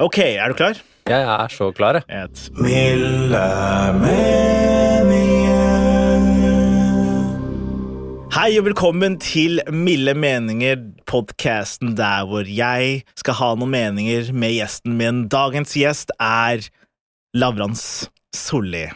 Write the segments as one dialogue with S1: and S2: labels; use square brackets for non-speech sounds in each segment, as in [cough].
S1: Ok, er du klar?
S2: Jeg er så klar, jeg.
S1: Et.
S3: Milde meninger.
S1: Hei og velkommen til Milde meninger, podkasten der hvor jeg skal ha noen meninger med gjesten min. Dagens gjest er Lavrans Solli.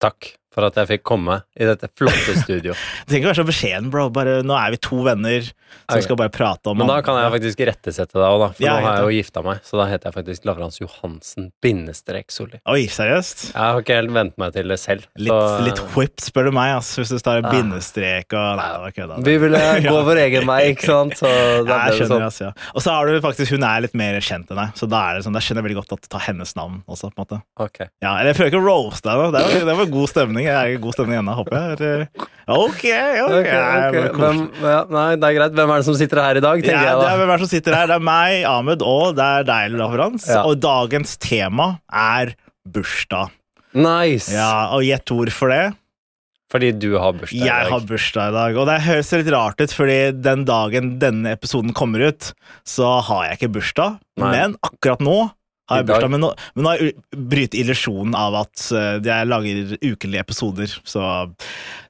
S2: Takk for at jeg fikk komme i dette flotte studio.
S1: Du trenger ikke være så beskjeden, bro. Bare, nå er vi to venner som
S2: Ok.
S1: skal bare prate om
S2: Men da kan jeg faktisk rettesette deg òg, da. For
S1: Ja,
S2: nå har
S1: helt
S2: jeg jo gifta meg, så da heter jeg faktisk Lavrans Johansen bindestrek Solli.
S1: Oi, seriøst?
S2: Jeg har ikke helt vent meg til det selv.
S1: Litt,
S2: så-
S1: litt whipped, spør du meg, ass, hvis du tar en
S2: Ah.
S1: bindestrek og Nei, det var kødda.
S2: Vi ville
S1: [laughs] Ja.
S2: gå vår egen vei, ikke sant? Så da
S1: Ja,
S2: ble
S1: jeg
S2: det
S1: skjønner,
S2: sånn.
S1: ass, ja. Og så har du faktisk, hun er litt mer kjent enn deg, så da er det sånn, da skjønner jeg veldig godt at du tar hennes navn også. på en måte.
S2: Ok.
S1: Ja, eller Jeg føler ikke å roaste deg nå. Det var, det var god stemning. Jeg er i god stemning ennå, håper jeg. Eller- Ok, ok.
S2: Ok,
S1: Ja,
S2: ok.
S1: det var koselig.
S2: Hvem, ja, nei, det er greit. Hvem er det som sitter her i dag, tenker
S1: Ja, det er
S2: jeg da.
S1: hvem er det som sitter her? Det er meg, Ahmed, og det er deg, Lavrans.
S2: Ja.
S1: Og dagens tema er bursdag.
S2: Nice!
S1: Ja, Og gjett hvorfor det?
S2: Fordi du har bursdag i
S1: Jeg har
S2: dag.
S1: bursdag i dag, og det høres litt rart ut, fordi den dagen denne episoden kommer ut, så har jeg ikke bursdag.
S2: Nei.
S1: Men akkurat nå har
S2: I
S1: jeg
S2: dag.
S1: bursdag. Men nå, men nå har jeg u- bryter illusjonen av at eh, jeg lager ukelige episoder, så,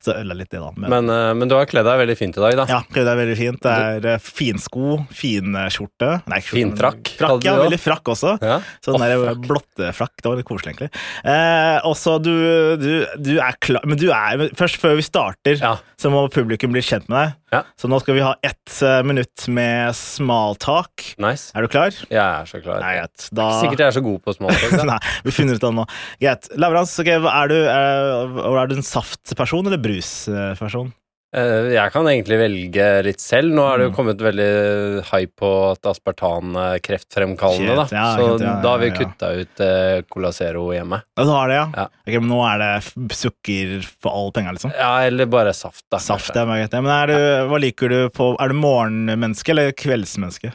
S1: så ødela litt det, da. Men,
S2: Men, eh, men du har kledd deg veldig fint i dag, da.
S1: ja, det er veldig fint. Det er eh, finsko, fin eh, skjorte Nei, ikke skjorte,
S2: Fin
S1: men-
S2: frakk, hadde
S1: Frakk,
S2: du
S1: ja,
S2: også.
S1: veldig frakk også.
S2: Ja.
S1: Sånn
S2: Å,
S1: der
S2: frakk.
S1: blotteflakk. Det var litt koselig, egentlig. Eh, også, du, du, du er klar Men du er men Først, før vi starter,
S2: Ja.
S1: så må publikum bli kjent med deg.
S2: Ja.
S1: Så nå skal vi ha ett eh, minutt med smalltalk.
S2: Nice.
S1: Er du klar?
S2: Jeg er så klar.
S1: Nei, greit. Da
S2: Sikkert jeg er så god på småtalk. da.
S1: [laughs] Nei, vi finner ut av det nå. Greit. Lavrans, ok, hva er, du, eh, er du en saftperson eller brusperson?
S2: Eh, Jeg kan egentlig velge litt selv. Nå er det jo
S1: Mm.
S2: kommet veldig hype på at aspartan er kreftfremkallende,
S1: Shit,
S2: da.
S1: ja,
S2: Så
S1: ikke sant, ja,
S2: da har vi
S1: ja, ja.
S2: kutta ut eh, Cola Zero hjemme.
S1: Ja, Du har det, ja?
S2: Ja.
S1: Ok, men nå er det f- sukker for alle penger, liksom?
S2: Ja, eller bare saft, da.
S1: Saft,
S2: kanskje.
S1: det er meget greit. Men er du, hva liker du på Er du morgenmenneske eller kveldsmenneske?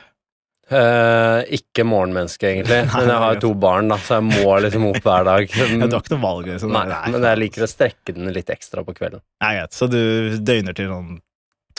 S2: Eh, ikke morgenmenneske,
S1: [laughs]
S2: egentlig.
S1: Nei,
S2: Men jeg har
S1: det er
S2: jo to barn, da, så jeg må liksom opp hver dag.
S1: [laughs] Ja, du har ikke noe valg, liksom?
S2: Nei, men jeg liker å strekke den litt ekstra på kvelden.
S1: Nei, greit. Så du døgner til sånn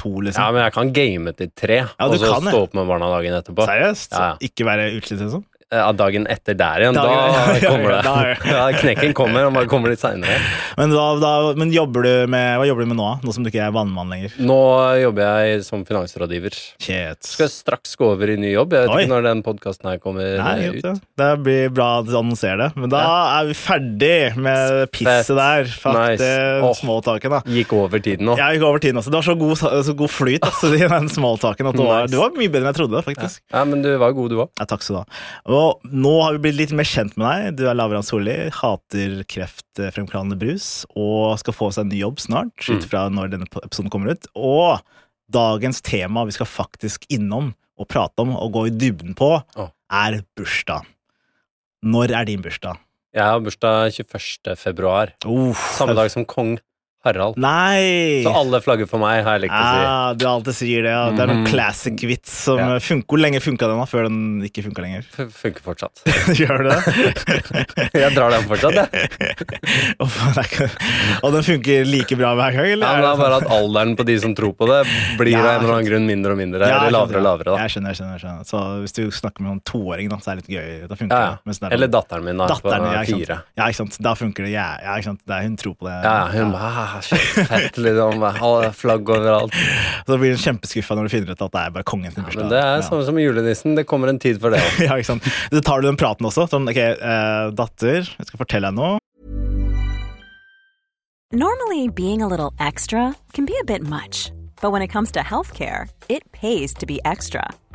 S1: to,
S2: Ja,
S1: liksom?
S2: men jeg kan game til tre,
S1: Ja, du
S2: og så
S1: kan det.
S2: stå opp med barna dagen etterpå.
S1: Seriøst?
S2: Ja, ja.
S1: Ikke være utslitt, liksom?
S2: Ja, dagen etter der igjen,
S1: Dagen- [laughs]
S2: da kommer det.
S1: Da er det-
S2: [laughs] Ja, knekken kommer, han bare kommer litt seinere.
S1: Men, da, da, men jobber du med, hva jobber du med nå, nå som du ikke er vannmann lenger?
S2: Nå jobber jeg som finansrådgiver.
S1: Shit.
S2: Skal straks gå over i ny jobb. Jeg vet
S1: Oi.
S2: ikke når den podkasten her kommer
S1: Nei,
S2: eh,
S1: godt,
S2: ut.
S1: ja. Det blir bra at du annonserer det. Men da er vi ferdig med pisset der. Fuck
S2: Nice.
S1: det
S2: Åh.
S1: smalltalken, da.
S2: Gikk over tiden nå.
S1: Jeg gikk over tiden også. Det var så god, så god flyt altså, i den smalltalken at du var,
S2: Nice.
S1: du var mye bedre enn jeg trodde, faktisk.
S2: Ja, men du var god, du òg.
S1: Ja, takk skal du ha. Og nå har vi blitt litt mer kjent med deg. Du er Lavran Solli, hater kreftfremkallende brus og skal få seg en ny jobb snart,
S2: Mm.
S1: ut fra når denne episoden kommer ut. Og dagens tema vi skal faktisk innom og prate om og gå i dybden på,
S2: Å.
S1: er bursdag. Når er din bursdag?
S2: Jeg har bursdag 21. februar.
S1: Uff.
S2: Samme dag som kong Harald.
S1: Nei!
S2: Så alle flagger for meg, har jeg likt å si.
S1: Ah, du alltid sier det. Ja. Det er noen
S2: Mhm.
S1: classic-vits som
S2: Ja.
S1: funker. Hvor lenge funka den da, før den ikke funka
S2: [laughs]
S1: lenger?
S2: F- Funker fortsatt.
S1: Gjør det det?
S2: Jeg drar den fortsatt,
S1: [laughs]
S2: jeg.
S1: Og faen, det er ikke- Og den funker like bra hver gang, eller? sånn?
S2: Ja, men det er bare at alderen på de som tror på det, blir
S1: Ja,
S2: av en eller annen grunn mindre og mindre.
S1: Ja, jeg
S2: Eller lavere og
S1: skjønner.
S2: lavere, da.
S1: Jeg skjønner, jeg skjønner, jeg skjønner. Så hvis du snakker med en toåring, da, så er det litt gøy. Da funker
S2: Ja,
S1: det. Mens det er-
S2: ja.
S1: sånn
S2: Eller datteren min, da.
S1: Datteren, ja,
S2: Datteren,
S1: ikke sant.
S2: fire.
S1: Ja, ikke sant. Da funker det. Ja, ja, ikke sant. Det er, hun tror på det.
S2: Ja, ja, hun bare ah, shit, Fett, liksom. Alle Flagg overalt.
S1: Så blir hun kjempeskuffa når du finner ut at det er bare kongen sin bursdag.
S2: Men det er
S1: Ja.
S2: samme som julenissen. Det kommer en tid for det òg.
S1: [laughs] ja, ikke sant. Så tar du den praten også. Sånn, ok, eh, datter, jeg skal fortelle deg noe.
S4: Normally, being a little extra can be a bit much, but when it comes to healthcare, it pays to be extra.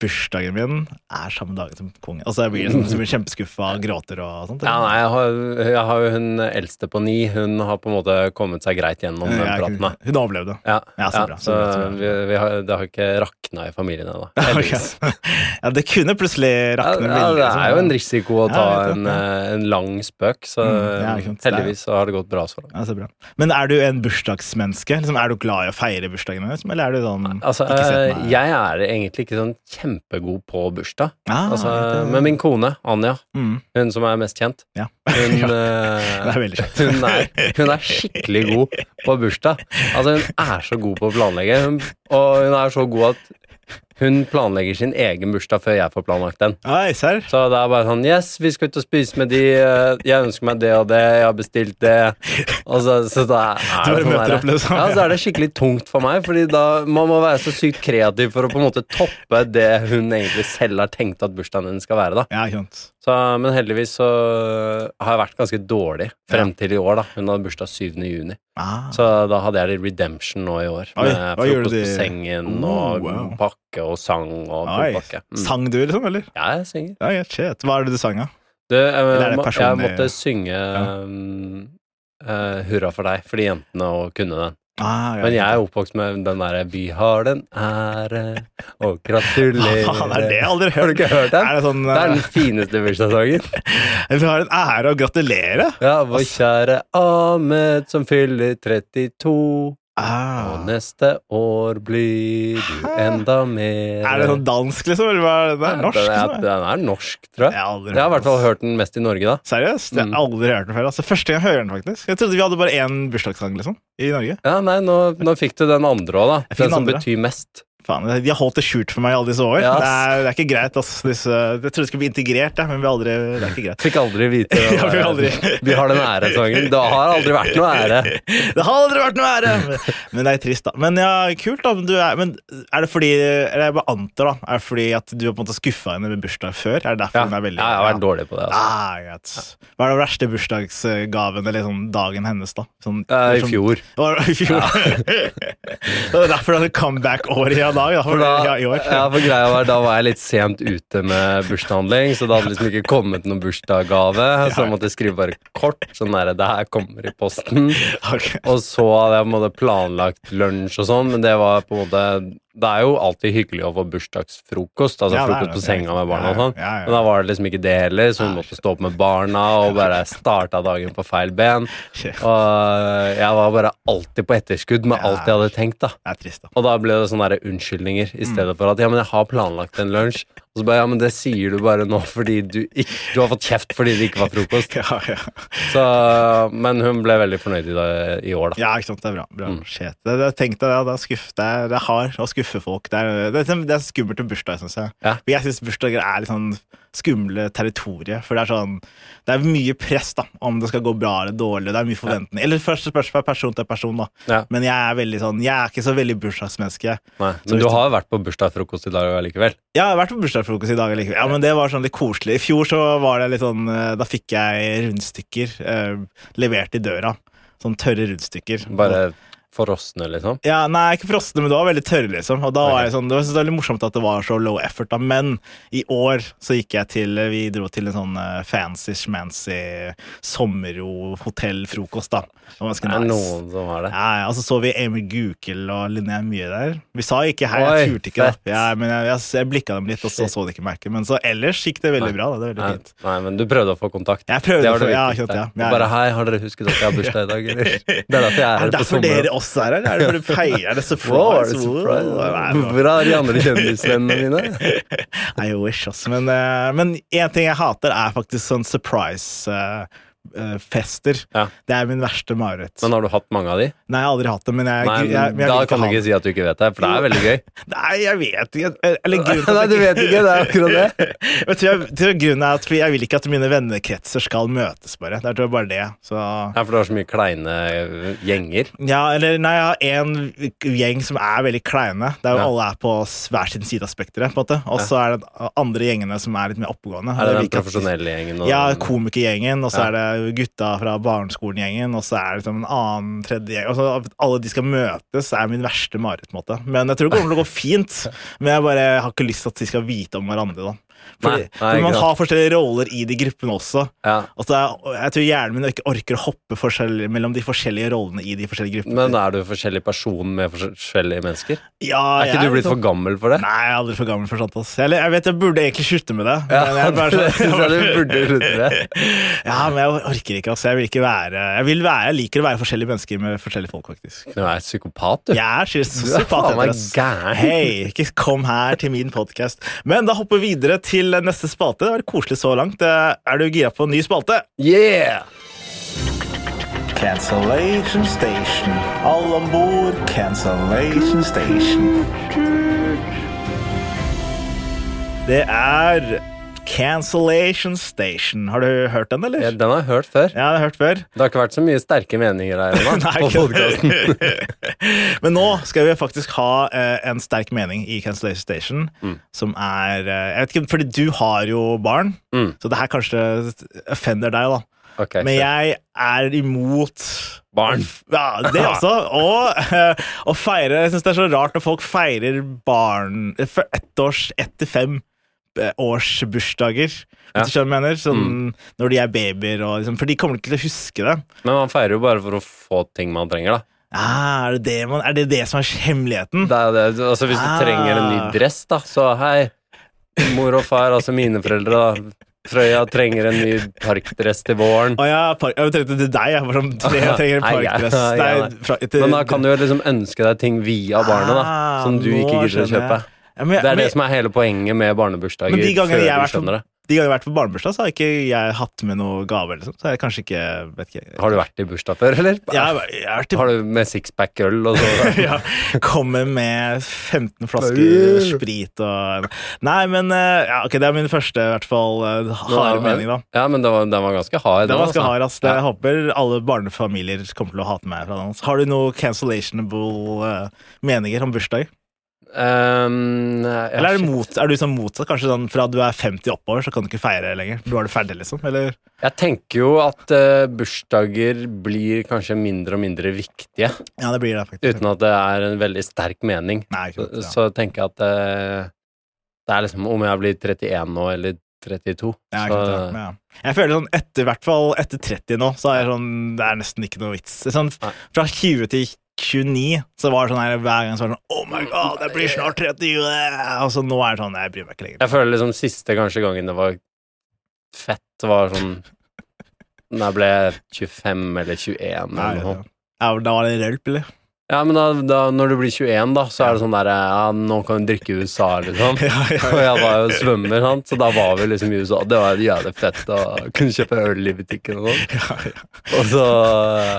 S1: Bursdagen min er samme dag som kongen. Altså, jeg blir sånn, så jeg blir kjempeskuffa og gråter og sånt.
S2: Ja, nei, jeg har, jeg har jo hun eldste på ni. Hun har på en måte kommet seg greit gjennom den
S1: Jeg er
S2: praten.
S1: ikke-
S2: da.
S1: Hun overlevde.
S2: Ja,
S1: Ja, så
S2: ja,
S1: bra, så
S2: så
S1: bra, så bra.
S2: vi, vi har, det har ikke rakna i familien ennå.
S1: [laughs] Ok.
S2: heldigvis.
S1: ja, det kunne plutselig
S2: Ja,
S1: rakne
S2: ja, det
S1: liksom.
S2: er jo en risiko å
S1: Ja,
S2: ta
S1: jeg vet
S2: en,
S1: det,
S2: eh, en lang spøk, så
S1: Mm, ja, ikke sant. Det er-
S2: heldigvis så har det gått bra så langt.
S1: Ja, så bra. Men er du en bursdagsmenneske? Liksom, er du glad i å feire bursdagen din, liksom? eller er du sånn
S2: Altså,
S1: ikke sett
S2: eh,
S1: meg?
S2: jeg er egentlig ikke sånn kjempegod på bursdag.
S1: Ah,
S2: Altså,
S1: det-
S2: men min kone, Anja,
S1: Mm.
S2: hun som er mest kjent,
S1: Ja. [laughs]
S2: hun,
S1: Ja,
S2: eh,
S1: det er veldig kjent.
S2: hun, er, hun er skikkelig god på bursdag. Altså, hun er så god på å planlegge, hun, og hun er så god at hun planlegger sin egen bursdag før jeg får planlagt den.
S1: Oi, serr.
S2: Så det er bare sånn Yes, vi skal ut og spise med de. eh, Jeg ønsker meg det og det. Jeg har bestilt det. Og så, så da
S1: Du
S2: er
S1: bare
S2: det sånn
S1: møter
S2: der-
S1: opp, liksom.
S2: Ja, så er det skikkelig tungt for meg, Fordi da man må være så sykt kreativ for å på en måte toppe det hun egentlig selv har tenkt at bursdagen hennes skal være. da
S1: Ja, ikke sant.
S2: så, Men heldigvis så har jeg vært ganske dårlig frem til i år. da Hun hadde bursdag 7. juni.
S1: Ah.
S2: Så da hadde jeg litt redemption nå i år.
S1: Oi,
S2: Med
S1: hva gjorde du?
S2: frokost på sengen
S1: Oh,
S2: og
S1: wow.
S2: pakke og sang og
S1: Oi.
S2: pakke. Mm.
S1: Sang du, liksom? Eller?
S2: Ja, jeg synger.
S1: Ja, ja, shit. Hva er det du sang, da?
S2: Du, jeg,
S1: er det
S2: må- jeg
S1: personlig-
S2: måtte synge um, eh, Hurra for deg, for de jentene og kunne den.
S1: Ah, ja,
S2: Men jeg
S1: ikke
S2: er oppvokst med den derre Vi har den ære
S1: [laughs]
S2: og
S1: Hva
S2: gratulerer.
S1: faen er det? Jeg har aldri hørt.
S2: Har du ikke
S1: sant.
S2: hørt den?
S1: Er det sånn
S2: Det er den
S1: eh,
S2: fineste
S1: [laughs]
S2: bursdagssangen.
S1: Vi har en ære å gratulere!
S2: Ja, vår kjære Ahmed som fyller 32. Og
S1: Ah.
S2: neste år blir du enda mer
S1: Er det sånn dansk, liksom? Eller hva er det? det er norsk?
S2: Den er,
S1: Liksom.
S2: den er norsk, tror
S1: Jeg
S2: jeg.
S1: har aldri
S2: Jeg har i hvert fall
S1: den, ass.
S2: hørt den mest i Norge, da.
S1: Seriøst? Jeg
S2: Mm.
S1: har aldri hørt den før. Altså, første gang jeg hører den, faktisk. Jeg trodde vi hadde bare én bursdagssang liksom, i Norge.
S2: Ja, nei, nå, nå fikk du den andre òg, da.
S1: Jeg fikk
S2: Den som
S1: den andre.
S2: betyr mest.
S1: Faen, De har holdt det skjult for meg i alle disse år.
S2: Ja, ass.
S1: Det, er, det er ikke greit. ass. Disse, jeg trodde det skulle bli integrert, jeg, men vi har aldri, det er ikke greit. [laughs]
S2: Fikk aldri vite det.
S1: Ja, fikk aldri.
S2: Vi har den æresangen. Det har aldri vært noe ære.
S1: [laughs] Det har aldri vært noe ære! Men, men det er trist, da. Men ja, kult, da. Men, du er, men er det fordi Eller jeg bare antar, da. Er det fordi at du har på en måte skuffa henne med bursdag før? Er det derfor
S2: Ja,
S1: hun er
S2: ja,
S1: veldig
S2: jeg har vært dårlig på det. Altså.
S1: Ah, greit. Hva er den verste bursdagsgaven eller sånn dagen hennes, da? Sånn,
S2: Eh, I
S1: sånn-
S2: fjor.
S1: Det var I fjor. [laughs] det var derfor det hadde comeback-året i dag. Da. For,
S2: For da,
S1: ja, i år.
S2: ja, for greia var, da var jeg litt sent ute med bursdagshandling, så det hadde liksom ikke kommet noen bursdagsgave. Så jeg måtte skrive bare kort. Sånn der, det her kommer i posten.
S1: Ok.
S2: Og så hadde jeg på en måte planlagt lunsj og sånn, men det var på en måte Det er jo alltid hyggelig å få bursdagsfrokost, altså
S1: Ja, det er
S2: frokost
S1: det.
S2: på senga med barna
S1: Ja,
S2: og
S1: ja,
S2: sånn,
S1: ja, ja.
S2: men da var det liksom ikke det heller, så hun måtte stå opp med barna og bare starta dagen på feil ben.
S1: Shit.
S2: Og jeg var bare alltid på etterskudd med alt jeg hadde tenkt, da.
S1: Det er trist, da.
S2: Og da ble det sånne der unnskyldninger i stedet for at ja, men jeg har planlagt en lunsj. Og så bare ja, men det sier du bare nå fordi du ikke Du har fått kjeft fordi det ikke var frokost.
S1: Ja, ja.
S2: Så, men hun ble veldig fornøyd i, dag, i år, da.
S1: Ja, ikke sant, det er bra. bra.
S2: Mm.
S1: Shit. Det, det, tenk deg det, det er skuff, det, er, det er hard å skuffe folk. Det er, det, er- det er skummelt med bursdag, syns jeg.
S2: Ja.
S1: Men Jeg syns bursdager er litt sånn skumle territorier, for det er sånn Det er mye press, da, om det skal gå bra eller dårlig. Det er mye forventning. Eller først spørs fra person til person, da.
S2: Ja.
S1: Men jeg er veldig sånn Jeg er ikke så veldig bursdagsmenneske.
S2: Nei,
S1: Så
S2: men du
S1: hvis-
S2: har vært på bursdagsfrokost i dag allikevel.
S1: Ja, jeg har vært på bursdagsfrokost i dag likevel. Ja, men det var sånn litt koselig. I fjor så var det litt sånn eh, Da fikk jeg rundstykker eh, levert i døra. Sånn tørre rundstykker.
S2: Bare forrosne, liksom.
S1: Ja, nei, ikke frosne, men det var veldig tørre, liksom. Og da var
S2: Ok.
S1: jeg sånn, det var, det var litt morsomt at det var så low effort, da. Men i år så gikk jeg til Vi dro til en sånn eh, fancy schmancy sommerro-hotellfrokost, da. Det var
S2: Det
S1: ganske
S2: er
S1: nice.
S2: noen som har det.
S1: Ja, ja, og så så vi Emil Gukild og Linnea Mye der. Vi sa ikke hei,
S2: Oi,
S1: jeg turte ikke.
S2: fett.
S1: da ja, men Jeg, jeg, jeg blikka dem litt, og så så de ikke merket. Men så ellers gikk det veldig bra. da, det var
S2: Nei,
S1: veldig fint.
S2: nei, men du prøvde å få kontakt.
S1: Jeg prøvde
S2: det
S1: å
S2: var
S1: få-
S2: det
S1: ja,
S2: viktigste.
S1: akkurat, ja.
S2: Og
S1: Ja, ja.
S2: Bare hei, har dere husket at jeg har bursdag i dag,
S1: [laughs]
S2: eller? Det er derfor jeg er
S1: Er
S2: her
S1: det
S2: på
S1: derfor
S2: sommeren.
S1: dere også er her? eller Er det fordi feirer det
S2: [laughs] Wow, er
S1: surprise?
S2: det surprise?
S1: Wow, nei, det var-
S2: Hvor er de andre kjendisvennene
S1: [laughs]
S2: mine?
S1: I wish, ass. Men, eh, men en ting jeg hater, er faktisk sånn surprise eh, eh, fester.
S2: Ja.
S1: Det er min verste mareritt.
S2: Men har du hatt mange av de?
S1: Nei, jeg har aldri hatt det, men jeg,
S2: Nei,
S1: jeg, jeg,
S2: men
S1: jeg
S2: Da
S1: vil
S2: kan du
S1: ha
S2: ikke
S1: det.
S2: si at du ikke vet det, for det er veldig
S1: [laughs]
S2: gøy.
S1: Nei, jeg vet ikke.
S2: [laughs]
S1: Eller grunnen til
S2: Nei,
S1: at
S2: du
S1: jeg
S2: vet ikke, det er akkurat det.
S1: Men tror [laughs] jeg, tror jeg grunnen er at fordi jeg vil ikke at mine vennekretser skal møtes, bare. Det er tror jeg bare det. Så
S2: Ja, for du har så mye kleine gjenger.
S1: ja, eller nei, jeg har en gjeng som er veldig kleine, der
S2: Ja.
S1: alle er på s- hver sin side av spekteret, på en måte. Og så er det andre gjengene som er litt mer oppegående.
S2: Er
S1: Jeg
S2: det
S1: vil
S2: den
S1: ikke at-
S2: profesjonelle gjengen? og-
S1: Ja, komikergjengen, og så er det gutta fra barneskolen-gjengen, og så er det liksom en annen tredje gjeng. Og så at alle de skal møtes, er min verste marerittmåte. Men jeg tror det kommer til å gå fint. Men jeg bare har ikke lyst til at de skal vite om hverandre, da. Fordi,
S2: Nei, nei,
S1: for
S2: ikke
S1: man
S2: sant.
S1: har forskjellige roller i de gruppene også.
S2: Ja.
S1: Og så er, jeg tror hjernen min ikke orker å hoppe forskjell- mellom de forskjellige rollene i de forskjellige gruppene.
S2: Men er du forskjellig person med forskjellige mennesker?
S1: ja,
S2: Er ikke
S1: jeg
S2: du blitt
S1: liksom-
S2: for gammel for det?
S1: Nei, jeg er aldri for gammel for sånt. Ass. Jeg, jeg vet jeg burde egentlig slutte med det. men
S2: [laughs]
S1: jeg er bare
S2: det
S1: sånn-
S2: synes jeg
S1: [laughs]
S2: du burde slutte med.
S1: Ja, men jeg orker ikke. Altså. Jeg vil ikke være Jeg, vil være, jeg liker å være forskjellige mennesker med forskjellige folk, faktisk.
S2: Du er psykopat, du.
S1: Jeg er
S2: Du er
S1: sosiopat.
S2: faen meg
S1: heter det.
S2: gæren.
S1: Hei, ikke kom her til min podkast. Men da hopper vi videre til neste spalte. Det har vært koselig så langt. Eh, Er du gira på en ny spalte?
S2: Yeah!
S1: Cancellation Station. Alle om bord, Cancellation Station. Det er Cancellation Station. Har du hørt den, eller?
S2: Ja, Den har jeg hørt før.
S1: Ja, jeg har hørt før.
S2: Det har ikke vært så mye sterke meninger her ennå.
S1: [laughs] Nei,
S2: på
S1: ikke
S2: podcasten.
S1: Men nå skal vi faktisk ha eh, en sterk mening i Cancellation Station,
S2: Mm.
S1: som er eh, Jeg vet ikke, fordi du har jo barn, så det her kanskje offender deg, da.
S2: Mm. Ok,
S1: Men
S2: kjør.
S1: jeg er imot
S2: Barn.
S1: Ja,
S2: [laughs]
S1: det også. Og eh, å feire Jeg syns det er så rart når folk feirer barn eh, for ett års, ett til fem eh, års bursdager, hvis
S2: Ja.
S1: du
S2: Mm.
S1: skjønner hva jeg mener? Sånn, Når de er babyer, og liksom, for de kommer ikke til å huske det.
S2: Men man feirer jo bare for å få ting man trenger, da.
S1: Ah, er, det det man, er det det som er hemmeligheten?
S2: Det er det. Altså, hvis du
S1: Ah.
S2: trenger en ny dress, da, så hei, mor og far, altså mine foreldre, da. Frøya trenger en ny parkdress til våren.
S1: Å ja, park, jeg tenkte til deg. Jeg, for som tre,
S2: [laughs]
S1: jeg trenger en
S2: Nei, ja,
S1: parkdress.
S2: ja, ja.
S1: Nei, fra- til-
S2: Men da kan du jo liksom ønske deg ting via barnet, da,
S1: Ah,
S2: som du
S1: nå
S2: ikke gidder å
S1: skjønner
S2: kjøpe.
S1: jeg. Ja, men,
S2: Det er det som er hele poenget med barnebursdager.
S1: Men de
S2: før
S1: gangene jeg har
S2: du
S1: vært sånn- på,
S2: skjønner det.
S1: de gangene jeg har vært på barnebursdag, så har ikke jeg hatt med noe gave. Eller sånt, så har jeg kanskje ikke vet ikke,
S2: Har du vært i bursdag før, eller?
S1: jeg, har- jeg har vært i-
S2: Har du med sixpack-øl og så
S1: [laughs] ja, Kommer med 15 flasker sprit og Nei, men eh, ja, ok, det er min første, i hvert fall, eh, harde mening, da.
S2: Ja, men den var, den var ganske hard.
S1: Det
S2: den,
S1: var ganske
S2: altså.
S1: hard, ass. Jeg
S2: Ja.
S1: håper alle barnefamilier kommer til å hate meg. fra den, ass. Har du noe cancellationable eh, meninger om bursdager?
S2: Ehm, ja,
S1: Eller er,
S2: shit.
S1: det mot, er du sånn motsatt? Kanskje sånn fra du er 50 oppover, så kan du ikke feire lenger? Du er det ferdig, liksom? Eller?
S2: Jeg tenker jo at eh, bursdager blir kanskje mindre og mindre viktige,
S1: Ja, det blir det, faktisk.
S2: uten at det er en veldig sterk mening.
S1: Nei, ikke
S2: Så,
S1: sant, ja.
S2: så tenker jeg at eh, det er liksom om jeg blir 31 nå, eller 32.
S1: Ja, ikke sant,
S2: så,
S1: ja. Men ja. Jeg føler sånn etter, i hvert fall etter 30 nå, så er jeg sånn, det er nesten ikke noe vits. Det er Sånn,
S2: Nei.
S1: fra 20 til 29 så var det sånn her hver gang så var det sånn Oh my god, jeg blir snart 30! øh!» Og så nå er det sånn, jeg bryr meg ikke lenger.
S2: Jeg føler liksom siste kanskje gangen det var fett, var sånn
S1: [laughs]
S2: Når jeg ble 25 eller 21
S1: Nei,
S2: eller
S1: ja.
S2: noe.
S1: Ja, da var det rølp, eller?
S2: Ja, men da, da, når du blir 21, da, så er det sånn derre Ja, nå kan du drikke i USA, liksom.
S1: [laughs] Ja, ja,
S2: Og jeg var jo svømmer, sant? så da var vi liksom i USA. Det var jævlig fett å kunne kjøpe øl i butikken og sånn.
S1: ja, ja.
S2: Og så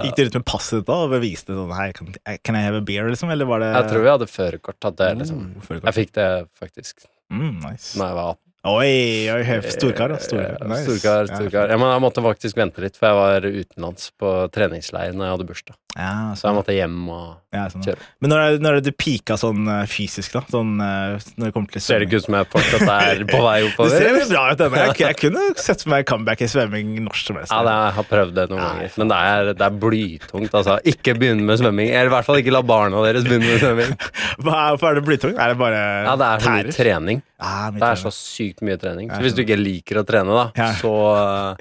S1: Gikk du rundt med passet ditt da og beviste sånn Hei, can, can I have a beer, liksom? Eller var det
S2: Jeg tror jeg hadde førerkort. Hadde jeg liksom.
S1: Oh, føler
S2: Jeg
S1: godt.
S2: fikk det faktisk
S1: Mm, nice.
S2: da jeg var 18.
S1: Oi, oi, høy, storkar. da,
S2: Eh,
S1: Storkar, nice.
S2: Storkar, storkar. Ja, men jeg måtte faktisk vente litt, for jeg var utenlands på treningsleir når jeg hadde bursdag.
S1: Ja,
S2: Så jeg
S1: sånn.
S2: måtte hjem og
S1: Ja, sånn.
S2: kjøre.
S1: Men når er, når er det du pika sånn eh, fysisk, da? Sånn, eh, når det kommer til
S2: Ser det ikke ut som jeg fortsatt er på vei
S1: [laughs] Du
S2: oppover?
S1: ser veldig bra ut denne. Jeg,
S2: [laughs]
S1: jeg kunne sett for meg comeback i svømming når som helst.
S2: Ja, det er, jeg har prøvd det noen ganger, men det er, det er blytungt. Altså. Ikke begynne med svømming. Eller i hvert fall ikke la barna deres begynne med svømming.
S1: Hva er, hvorfor er det blytung? Er det bare
S2: Ja, det er så mye trening.
S1: Ja, mye
S2: Det er
S1: tærer.
S2: så sykt mye trening. Så hvis du ikke liker å trene, da,
S1: Ja.
S2: så, eh,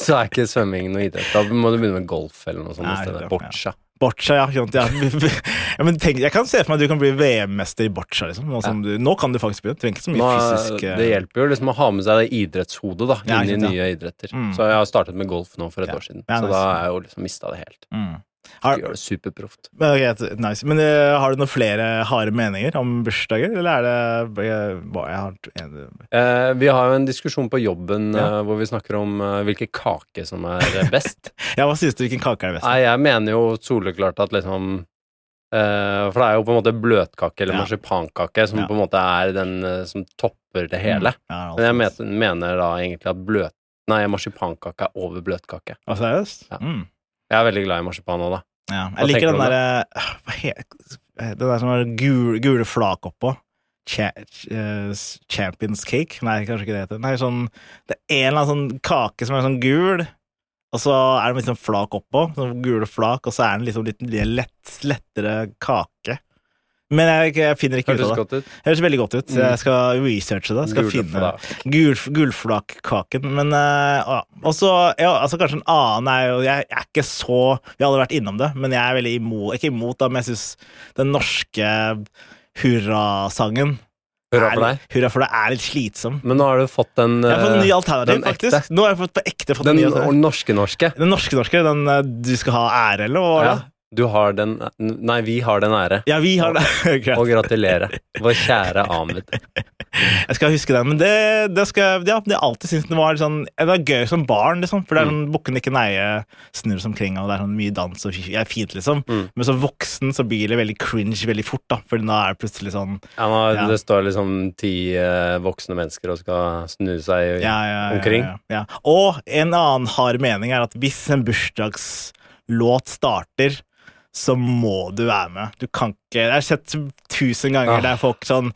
S2: så er ikke svømming noe idrett. Da må du begynne med golf eller noe sånt.
S1: Nei,
S2: i stedet.
S1: ja.
S2: Boccia.
S1: Boccia, ja. ikke sant?
S2: [laughs]
S1: ja. ja men tenk, jeg kan se for meg at du kan bli VM-mester i boccia. Liksom, nå, som du, nå kan du faktisk begynne. Du trenger ikke så mye
S2: Nå,
S1: fysisk eh,
S2: det hjelper jo liksom å ha med seg det idrettshodet da,
S1: Ja, ikke
S2: inn i
S1: sant, Mm.
S2: nye idretter. Så jeg har startet med golf nå for et
S1: Ja.
S2: år siden,
S1: Ja,
S2: så
S1: nice.
S2: da har jeg jo liksom mista det helt.
S1: Mm. Har,
S2: Gjør det superproft.
S1: men ok, t- nice. Men eh, har du noen flere harde meninger om bursdager, eller er det jeg, bare jeg har t- en,
S2: Eh, vi har jo en diskusjon på jobben
S1: Ja.
S2: eh, hvor vi snakker om eh, hvilken kake som er
S1: [laughs]
S2: eh, best.
S1: Ja, hva synes du? Hvilken kake er det beste?
S2: Nei, jeg mener jo soleklart at liksom eh, For det er jo på en måte bløtkake eller
S1: Ja.
S2: marsipankake som
S1: Ja. Mm.
S2: på en måte er den eh, som topper det hele.
S1: Ja, altså, det er
S2: Men jeg
S1: alltid-
S2: men- mener da egentlig at bløt... Nei, marsipankake er over bløtkake.
S1: Å, seriøst?
S2: Ja.
S1: Mm.
S2: Jeg er veldig glad i marsipan òg, da.
S1: Ja.
S2: Hva
S1: Jeg liker
S2: tenker
S1: den eh,
S2: du om
S1: derre Den der som har gule, gule flak oppå. Cha eh, Champions cake? Nei, kanskje ikke det heter. Nei, sånn, det er en eller annen sånn kake som er sånn gul, og så er den liksom flak oppå. Sånn gule flak, og så er den liksom litt, litt lett, lettere kake. Men jeg, jeg finner ikke ut
S2: Hørtes
S1: av det.
S2: godt ut.
S1: Det høres veldig godt ut.
S2: Mm.
S1: Jeg skal researche det. Skal
S2: Gule
S1: finne
S2: flak.
S1: Gul, gulflakkaken. Men eh, ja. Og så ja, altså kanskje en annen er jo Jeg er ikke så Vi har aldri vært innom det, men jeg er veldig imot Ikke imot, da, men jeg syns den norske hurrasangen
S2: Hurra
S1: er-
S2: for deg.
S1: Hurra for deg er litt slitsom.
S2: Men nå har du fått den
S1: Jeg har fått en ny
S2: eh,
S1: alternativ,
S2: den ekte.
S1: faktisk. Nå har jeg fått på ekte fått
S2: Den
S1: en ny alternativ.
S2: norske-norske.
S1: Den norske-norske, den eh, du skal ha ære, eller hva var
S2: Ja.
S1: det?
S2: Du har den Nei, vi har den ære.
S1: Ja, vi har det. [laughs] Greit.
S2: Og gratulerer, vår kjære Ahmed.
S1: Jeg skal huske den, men det, det skal jeg- ja, det har jeg alltid syntes den var sånn, det var gøy som barn, liksom, for det er sånn bukken ikke neie, snurr som kringa, og det er sånn mye dans og det er fint, liksom.
S2: Mm.
S1: Men som voksen så blir det veldig cringe veldig fort, da, for da er det plutselig sånn
S2: Ja, nå,
S1: Ja.
S2: Det står liksom ti eh, voksne mennesker og skal snu seg
S1: ja, ja, ja,
S2: omkring.
S1: Ja, ja. Og en annen hard mening er at hvis en bursdagslåt starter, så må du være med. Du kan ikke Jeg har sett tusen ganger
S2: Ah.
S1: der folk sånn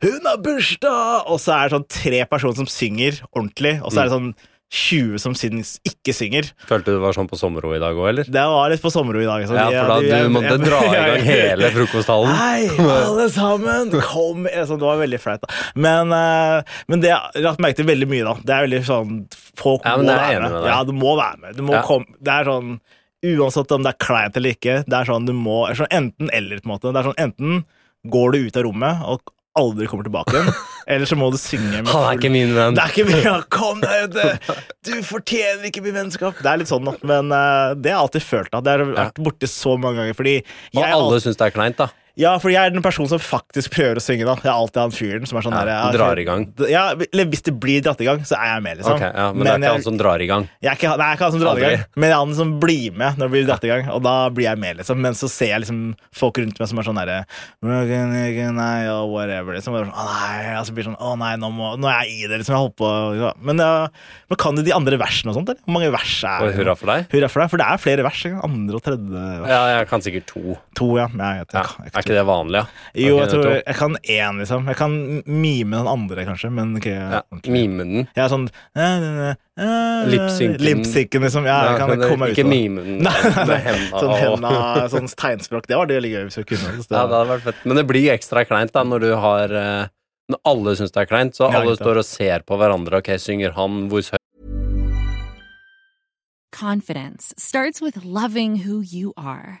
S1: 'Hun har bursdag!' Og så er det sånn tre personer som synger ordentlig, og så er det
S2: Mm.
S1: sånn 20 som syns ikke synger.
S2: Følte du det var sånn på sommerro i dag òg, eller?
S1: Det var litt på sommerro i dag. så
S2: Ja,
S1: de-
S2: for da
S1: de-
S2: du
S1: jeg-
S2: måtte
S1: jeg- [laughs]
S2: dra i gang hele frokosthallen. [laughs]
S1: Hei, alle sammen! Kom! Altså, det var veldig flaut. da. Men, eh, men det jeg har lagt merke til veldig mye, da. Det er veldig sånn Folk
S2: Ja, men
S1: må
S2: det er jeg
S1: være med.
S2: enig med deg.
S1: Ja, du må være med. Du må
S2: Ja.
S1: komme. Det er sånn Uansett om det er kleint eller ikke, det er sånn du må det er sånn Enten eller, på en måte. Det er sånn enten går du ut av rommet og aldri kommer tilbake
S2: [laughs]
S1: igjen, eller så må du synge med
S2: Han er ikke min venn.
S1: det er ikke mye Kom deg
S2: [laughs]
S1: ut! Du fortjener ikke mye vennskap! Det er litt sånn, da. Men eh, det har jeg alltid følt. Da. Det har jeg vært borti så mange ganger. Fordi
S2: Og
S1: jeg
S2: alle syns det er kleint, da.
S1: ja, for jeg er den personen som faktisk prøver å synge. da Jeg er alltid han fyren som er sånn
S2: Ja,
S1: der,
S2: du drar i gang.
S1: Ja, eller Hvis det blir dratt i gang, så er jeg med. liksom
S2: Ok, ja, men, det er ikke
S1: jeg,
S2: han som drar i gang.
S1: jeg er ikke, Nei, jeg er ikke han som drar i
S2: Aldri.
S1: gang, men jeg er han som blir med når det blir dratt i gang. Og da blir jeg med, liksom. Men så ser jeg liksom folk rundt meg som er sånn derre Nei, og whatever. Liksom. Og jeg er sånn, å nei, og så blir det sånn Å nei, nå, må, nå er jeg i det, liksom. Jeg holder på ja. men, ja, men kan du de andre versene og sånt, eller? Hvor mange vers er
S2: Og
S1: det?
S2: hurra for deg.
S1: Hurra for deg. For det er flere vers. ikke? Andre og tredje vers.
S2: Ja, jeg kan sikkert to.
S1: To, ja. Nei, jeg,
S2: Ja.
S1: jeg, jeg,
S2: Er ikke det vanlig, ja?
S1: jo,
S2: Ok,
S1: jeg tror
S2: det
S1: jeg kan én, liksom. Jeg kan mime den andre, kanskje, men ikke
S2: Ja,
S1: ordentlig.
S2: mime den.
S1: Jeg er sånn eh, eh, eh,
S2: Lip-synken.
S1: Lip-synken, liksom. Ja, jeg kan
S2: men det-
S1: komme meg ut
S2: ikke
S1: av det.
S2: mime den
S1: Nei, nei,
S2: med
S1: nei.
S2: henda.
S1: Sånn
S2: og-
S1: henda, sånn tegnspråk. Det var det veldig gøy hvis jeg kunne. altså, Så
S2: Ja, det
S1: det,
S2: hadde vært fett. Men det blir ekstra kleint da når du har eh, Når alle syns det er kleint, så
S1: Ja,
S2: alle
S1: ikke sant.
S2: står og ser på hverandre. Ok, synger han? Hvor høy
S5: Confidence starts with loving who you are.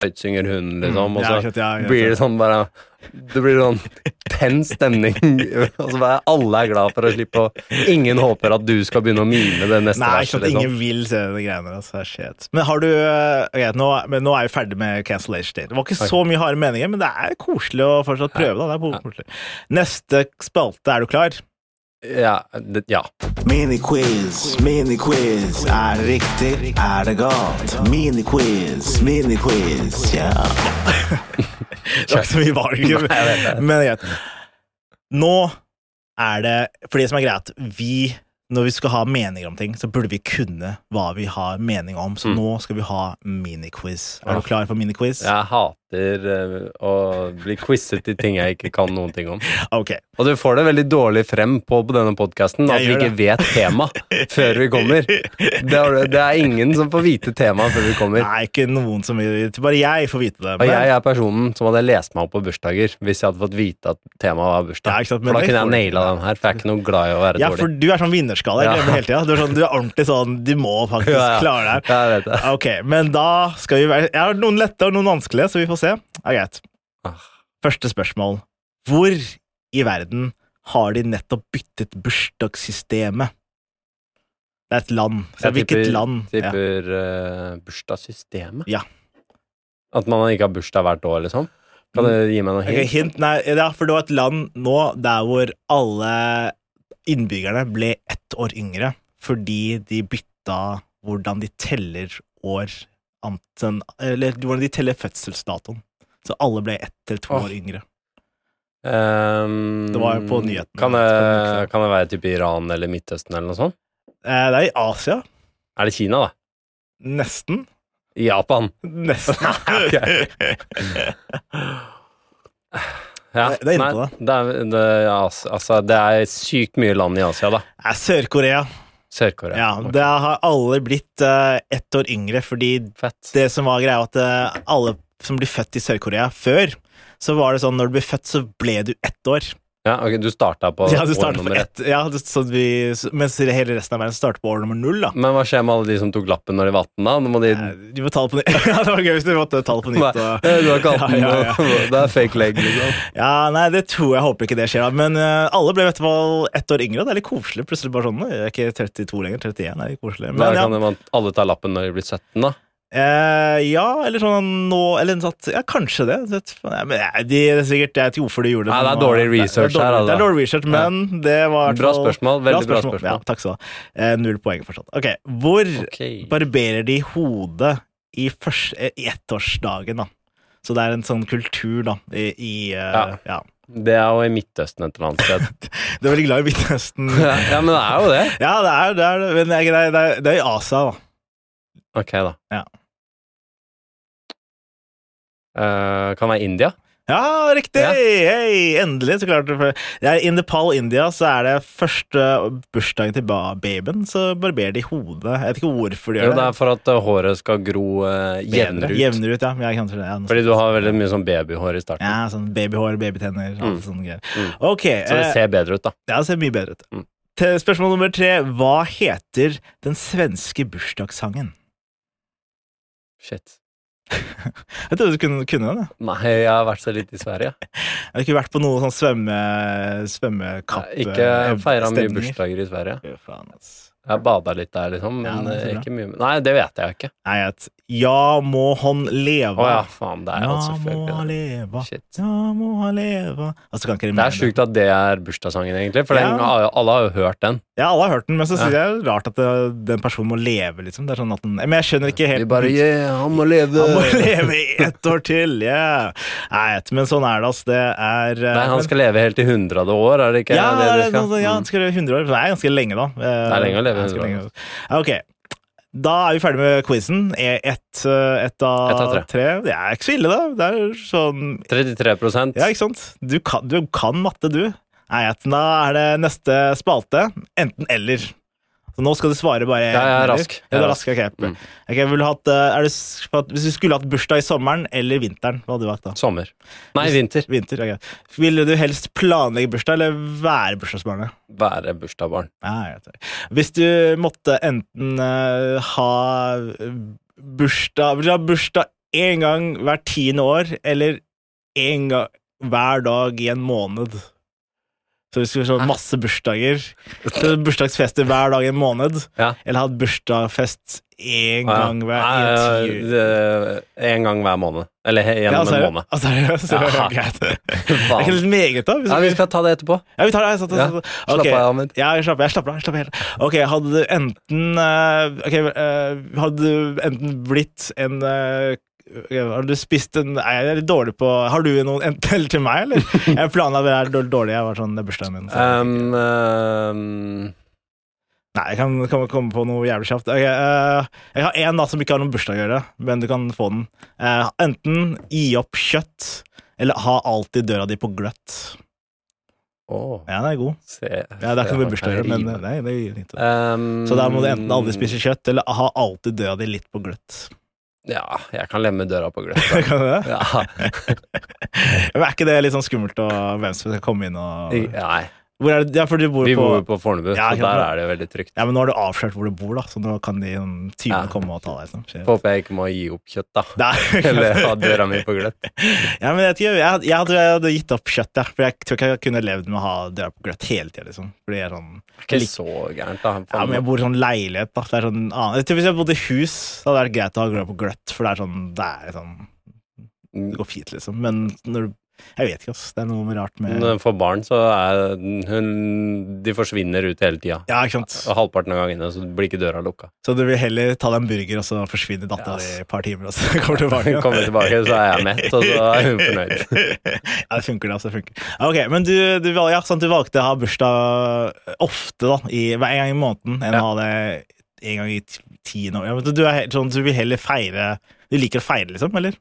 S2: høyt synger hun, liksom?
S1: Mm,
S2: Og
S1: ja,
S2: så
S1: ikke sant, ja, ja,
S2: blir det sånn bare Det blir sånn tens stemning.
S1: [laughs]
S2: og så bare alle er glad for å slippe å Ingen håper at du skal begynne å mime det neste
S1: Nei, ikke
S2: verset,
S1: sant. Ingen
S2: liksom.
S1: vil se de greiene der. Altså, shit. Men har du eh, ok, nå, men nå er vi ferdig med cancellation date. Det var ikke så mye harde meninger, men det er koselig å fortsatt prøve. Da. Det er koselig. Neste spalte, er du klar?
S2: liksom. Ja. det- ja.
S3: Miniquiz, miniquiz. Er det riktig? Er det galt? Miniquiz, miniquiz.
S1: [laughs]
S3: Ja.
S1: Det var ikke så mye valg. Men det er greit. Nå er det For det som er greit, vi når vi skal ha meninger om ting, så burde vi kunne hva vi har mening om. Så nå skal vi ha miniquiz. Er du klar for miniquiz?
S2: Jeg hater eh, å bli quizet i ting jeg ikke kan noen ting om.
S1: Ok.
S2: Og du får det veldig dårlig frem på, på denne podkasten at
S1: Jeg
S2: vi
S1: gjør
S2: ikke vet tema før vi kommer. Det er, det er ingen som får vite temaet før vi kommer.
S1: Nei, ikke noen som Bare jeg får vite det.
S2: Og jeg er personen som hadde lest meg opp på bursdager hvis jeg hadde fått vite at temaet var
S1: Ja,
S2: bursdag.
S1: ikke sant, men
S2: for da
S1: det
S2: kunne jeg
S1: får du.
S2: naila den her, for jeg er ikke noe glad i å være
S1: ja, for
S2: dårlig.
S1: du er sånn vinnerskalle. Jeg
S2: Ja.
S1: glemmer hele tida. Du, er sånn, du er ordentlig sånn Du må faktisk
S2: [laughs] Ja, ja.
S1: klare det her.
S2: Ja, jeg vet det.
S1: Ok, men da skal vi være Jeg har noen lette og noen vanskelige, så vi får se. Det er greit.
S2: Ah.
S1: Første spørsmål. Hvor i verden har de nettopp byttet bursdagssystemet? Det er et land. Så
S2: Jeg
S1: hvilket
S2: tipper-
S1: land? Ja.
S2: Tipper eh, bursdagssystemet.
S1: Ja.
S2: At man ikke har bursdag hvert år, liksom.
S1: Mm.
S2: Kan du gi meg noe
S1: Ok,
S2: hint?
S1: hint? Nei, ja, for det var et land nå der hvor alle innbyggerne ble ett år yngre fordi de bytta hvordan de teller år anten, Eller hvordan de teller fødselsdatoen. Så alle ble ett eller to
S2: Åh.
S1: år yngre.
S2: Ehm,
S1: Det var på nyhetene.
S2: Kan det, kan det være type Iran eller Midtøsten eller noe sånt?
S1: Eh, Det er i Asia.
S2: Er det Kina, da?
S1: Nesten.
S2: Japan.
S1: Nesten.
S2: [laughs]
S1: [laughs]
S2: Ok. Ja,
S1: Det- det er inne
S2: nei,
S1: på det.
S2: er- det- ja, altså- altså, det er sykt mye land i Asia, da.
S1: Eh, Sør-Korea.
S2: Sør-Korea.
S1: Ja,
S2: Ok,
S1: det har alle blitt eh, ett år yngre, fordi
S2: Fett.
S1: det som var greia, var at eh, alle som blir født i Sør-Korea før, så var det sånn når du ble født, så ble du ett år.
S2: Ja, ok, du starta på
S1: Ja, du
S2: år
S1: startet på
S2: nummer ett.
S1: ett, ja, du- så vi, så- mens hele resten av verden starter på år nummer null, da.
S2: Men hva skjer med alle de som tok lappen når de var 18, da? Nå må de
S1: Eh, Du må ta det på nytt. [laughs] Ja, det var gøy hvis du måtte ta det på nytt.
S2: Nei,
S1: Og...
S2: Eh, Du har ikke
S1: [laughs]
S2: 18,
S1: Ja, ja, ja.
S2: det er fake leg, liksom.
S1: Ja, nei, det tror jeg håper ikke det skjer, da. Men eh, alle ble i hvert fall ett år yngre, og det er litt koselig. Plutselig bare sånn, jeg er ikke 32 lenger, 31 er litt koselig.
S2: Da
S1: Men ja,
S2: kan man, alle ta lappen når de blir 17, da.
S1: Eh, ja, eller sånn nå Eller en sånn- ja, kanskje det. det nei, men nei, de, det er sikkert, Jeg vet ikke hvorfor de gjorde det.
S2: Nei, det er
S1: men nå-
S2: dårlig research
S1: det er
S2: her,
S1: dårlig,
S2: altså.
S1: det er dårlig research, men det var i hvert
S2: Bra
S1: fall-
S2: spørsmål, veldig bra spørsmål.
S1: Ja, takk skal du ha. Eh, null poeng fortsatt. Ok, Hvor
S2: Ok.
S1: barberer de hodet i, først, eh, i ettårsdagen, da? Så det er en sånn kultur, da, i, i eh, ja.
S2: Det er jo i Midtøsten et eller annet sted.
S1: Du er veldig glad i Midtøsten.
S2: [laughs] Ja, ja, men det er jo det.
S1: [laughs] ja, det er det, er, det, men det er, det er, det er, det er i Asia, da.
S2: Ok, da.
S1: Ja.
S2: Eh, kan være India?
S1: Ja, riktig!
S2: Ja.
S1: Hei, endelig så klarte du det. Det er I Nepal, India, så er det første bursdagen til ba- babyen, så barberer de hodet. Jeg vet ikke hvorfor de
S2: Jo,
S1: gjør
S2: det
S1: det.
S2: er for at eh, håret skal gro eh, jevnere ut.
S1: Jevnere ut, ja. Men Jeg kan tro det. Ja, noe
S2: Fordi
S1: sånt.
S2: du har veldig mye sånn babyhår i starten.
S1: ja, sånn babyhår, babytenner, alt
S2: Mm.
S1: sånne greier.
S2: Mm.
S1: Ok,
S2: Så det
S1: eh,
S2: ser bedre ut, da.
S1: ja, det ser mye bedre ut.
S2: Mm.
S1: Til Spørsmål nummer tre. Hva heter den svenske bursdagssangen?
S2: Shit.
S1: Jeg trodde du kunne, kunne den. jeg.
S2: Nei, jeg har vært så litt i Sverige.
S1: Jeg har ikke vært på noe sånn svømme, svømmekapp...
S2: Jeg har ikke feira mye
S1: stemninger.
S2: bursdager i Sverige.
S1: Fy faen, ass.
S2: Jeg bada litt der, liksom,
S1: Ja,
S2: men
S1: det er
S2: eh,
S1: bra.
S2: ikke mye Nei, det vet jeg jo ikke.
S1: Nei, at Ja, må han leve.
S2: Å ja, faen. Det er jo
S1: ja, må han
S2: selvfølgelig det.
S1: leve.
S2: Shit.
S1: Ja, må han leve. Altså, kan ikke
S2: Det
S1: rimere
S2: er sjukt at det er bursdagssangen, egentlig. For den,
S1: Ja.
S2: alle har jo hørt den.
S1: Ja, alle har hørt den, men så synes
S2: Ja.
S1: jeg det er rart at det, den personen må leve, liksom. Det er sånn at den, men jeg skjønner ikke helt
S2: Vi bare Yeah, han må leve!
S1: [laughs] Han må leve i ett år til! Yeah. Nei, et- men sånn er det, altså. Det er eh,
S2: Nei, han
S1: men-
S2: skal leve helt til 100 år, er det ikke
S1: ja,
S2: det
S1: det
S2: du
S1: er
S2: skal? Mm.
S1: sånn- ja, han skal leve 100 år. Det er ganske lenge, da. Eh,
S2: Det er lenge å leve 100 år.
S1: Ok, da er vi ferdig med quizen. Ett eh, ett av,
S2: Ett av tre.
S1: Det er ikke så ille, da. Det er sånn
S2: Mm. 33
S1: Ja, ikke sant? Du kan, du kan matte, du. Nei, at da er det neste spalte. Enten eller. Så nå skal du svare bare
S2: Ja, jeg er
S1: eller.
S2: rask.
S1: Ja,
S2: Jeg
S1: du
S2: er
S1: er rask. Ok,
S2: Mm.
S1: Ok, vil du hatt, eh, er det, s- for at, Hvis du skulle hatt bursdag i sommeren eller vinteren, hva hadde du valgt da?
S2: Sommer. Nei, vinter.
S1: Vinter, ok. Ville du helst planlegge bursdag eller være bursdagsbarnet?
S2: Være bursdagsbarn.
S1: Ja, jeg vet det. Hvis du måtte enten eh, ha bursdag Vil du ha bursdag én gang hvert tiende år, eller én gang hver dag i en måned? Så hvis du skulle ha masse bursdager så Bursdagsfester hver dag i en måned,
S2: Ja.
S1: eller ha bursdagsfest én
S2: Ah, ja.
S1: gang hver i
S2: Eh,
S1: ti uker.
S2: det- En gang hver måned. Eller he-
S1: Ja,
S2: gjennom
S1: altså,
S2: en måned. [laughs]
S1: altså, [laughs] altså,
S2: Ja.
S1: greit. Det er ikke
S2: Faen.
S1: litt meget, da?
S2: Ja, vi skal ta det etterpå.
S1: Ja, vi tar det. Sånn,
S2: Ja.
S1: sånn, sånn.
S2: Slapp
S1: Ok.
S2: av, Ahmed.
S1: Ja, jeg slapper, jeg slapper av. Jeg slapper helt. av. Ok, hadde du enten eh, Ok, eh, hadde du enten blitt en eh, ok, Har du spist en Nei, jeg er litt dårlig på Har du noen enten eller til meg, eller? Jeg planla det her dårlig, dårlig. Jeg var sånn, det er bursdagen min. Så.
S2: Um, um,
S1: Nei, jeg kan, kan komme på noe jævlig kjapt. Ok, eh, jeg har én natt som ikke har noen bursdag å gjøre, men du kan få den. Eh, enten gi opp kjøtt, eller ha alltid døra di på gløtt.
S2: å,
S1: Ja, den er god.
S2: se,
S1: Ja, det er ikke noe med bursdag å gjøre, men eh,
S2: rimer.
S1: nei, det gir den ikke.
S2: Um,
S1: Så da må du enten aldri spise kjøtt, eller ha alltid døra di litt på
S2: [laughs]
S1: gløtt.
S2: Ja, jeg kan lemme døra på
S1: [laughs]
S2: gløtt. da.
S1: Kan du det?
S2: Ja,
S1: Men er ikke det litt sånn skummelt å hvem som skal komme inn og
S2: I- nei,
S1: Hvor er det? Ja, for du bor
S2: vi
S1: på
S2: bor jo på Fornebu,
S1: Ja,
S2: så
S1: ikke sant.
S2: der er det veldig trygt.
S1: Ja, men nå har du avslørt hvor du bor, da, så nå kan de um, tyvene
S2: Ja.
S1: komme og ta deg. Liksom. Shit.
S2: Håper jeg ikke må gi opp kjøtt, da. [laughs]
S1: Nei.
S2: Eller ha døra mi
S1: [laughs]
S2: på gløtt.
S1: ja, men jeg, tror- jeg, jeg, hadde, jeg hadde gitt opp kjøtt, ja, for jeg tror ikke jeg kunne levd med å ha døra på gløtt hele tida. Liksom. Fordi jeg er sånn
S2: Ikke så gærent, da.
S1: Ja, men jeg bor i sånn leilighet, da. Det er sånn annen. Jeg tror Hvis jeg bodde i hus, så hadde det vært greit å ha døra på gløtt, for det er sånn Det, er sånn, det går fint, liksom. Men når du Jeg vet ikke, ass. Det er noe rart med
S2: Når hun får barn, så er hun De forsvinner ut hele tida.
S1: Ja, ikke sant.
S2: Og Halvparten av gangene så blir ikke døra lukka.
S1: Så du vil heller ta deg en burger, og så forsvinner
S2: Ja,
S1: dattera
S2: ass.
S1: di i et par timer, og så [laughs] kommer du tilbake?
S2: Hun kommer tilbake, så er jeg mett, og så er hun fornøyd.
S1: [laughs] ja, det funker, det. altså, det funker. Ok, Men du, du, val- ja, sant, du valgte å ha bursdag eh, ofte, da, i, hver en gang i måneden, enn
S2: Ja.
S1: å ha det en gang i ti- tiende år. Ja, men du, du, er helt sånn, du vil heller feire Du liker å feire, liksom? Eller?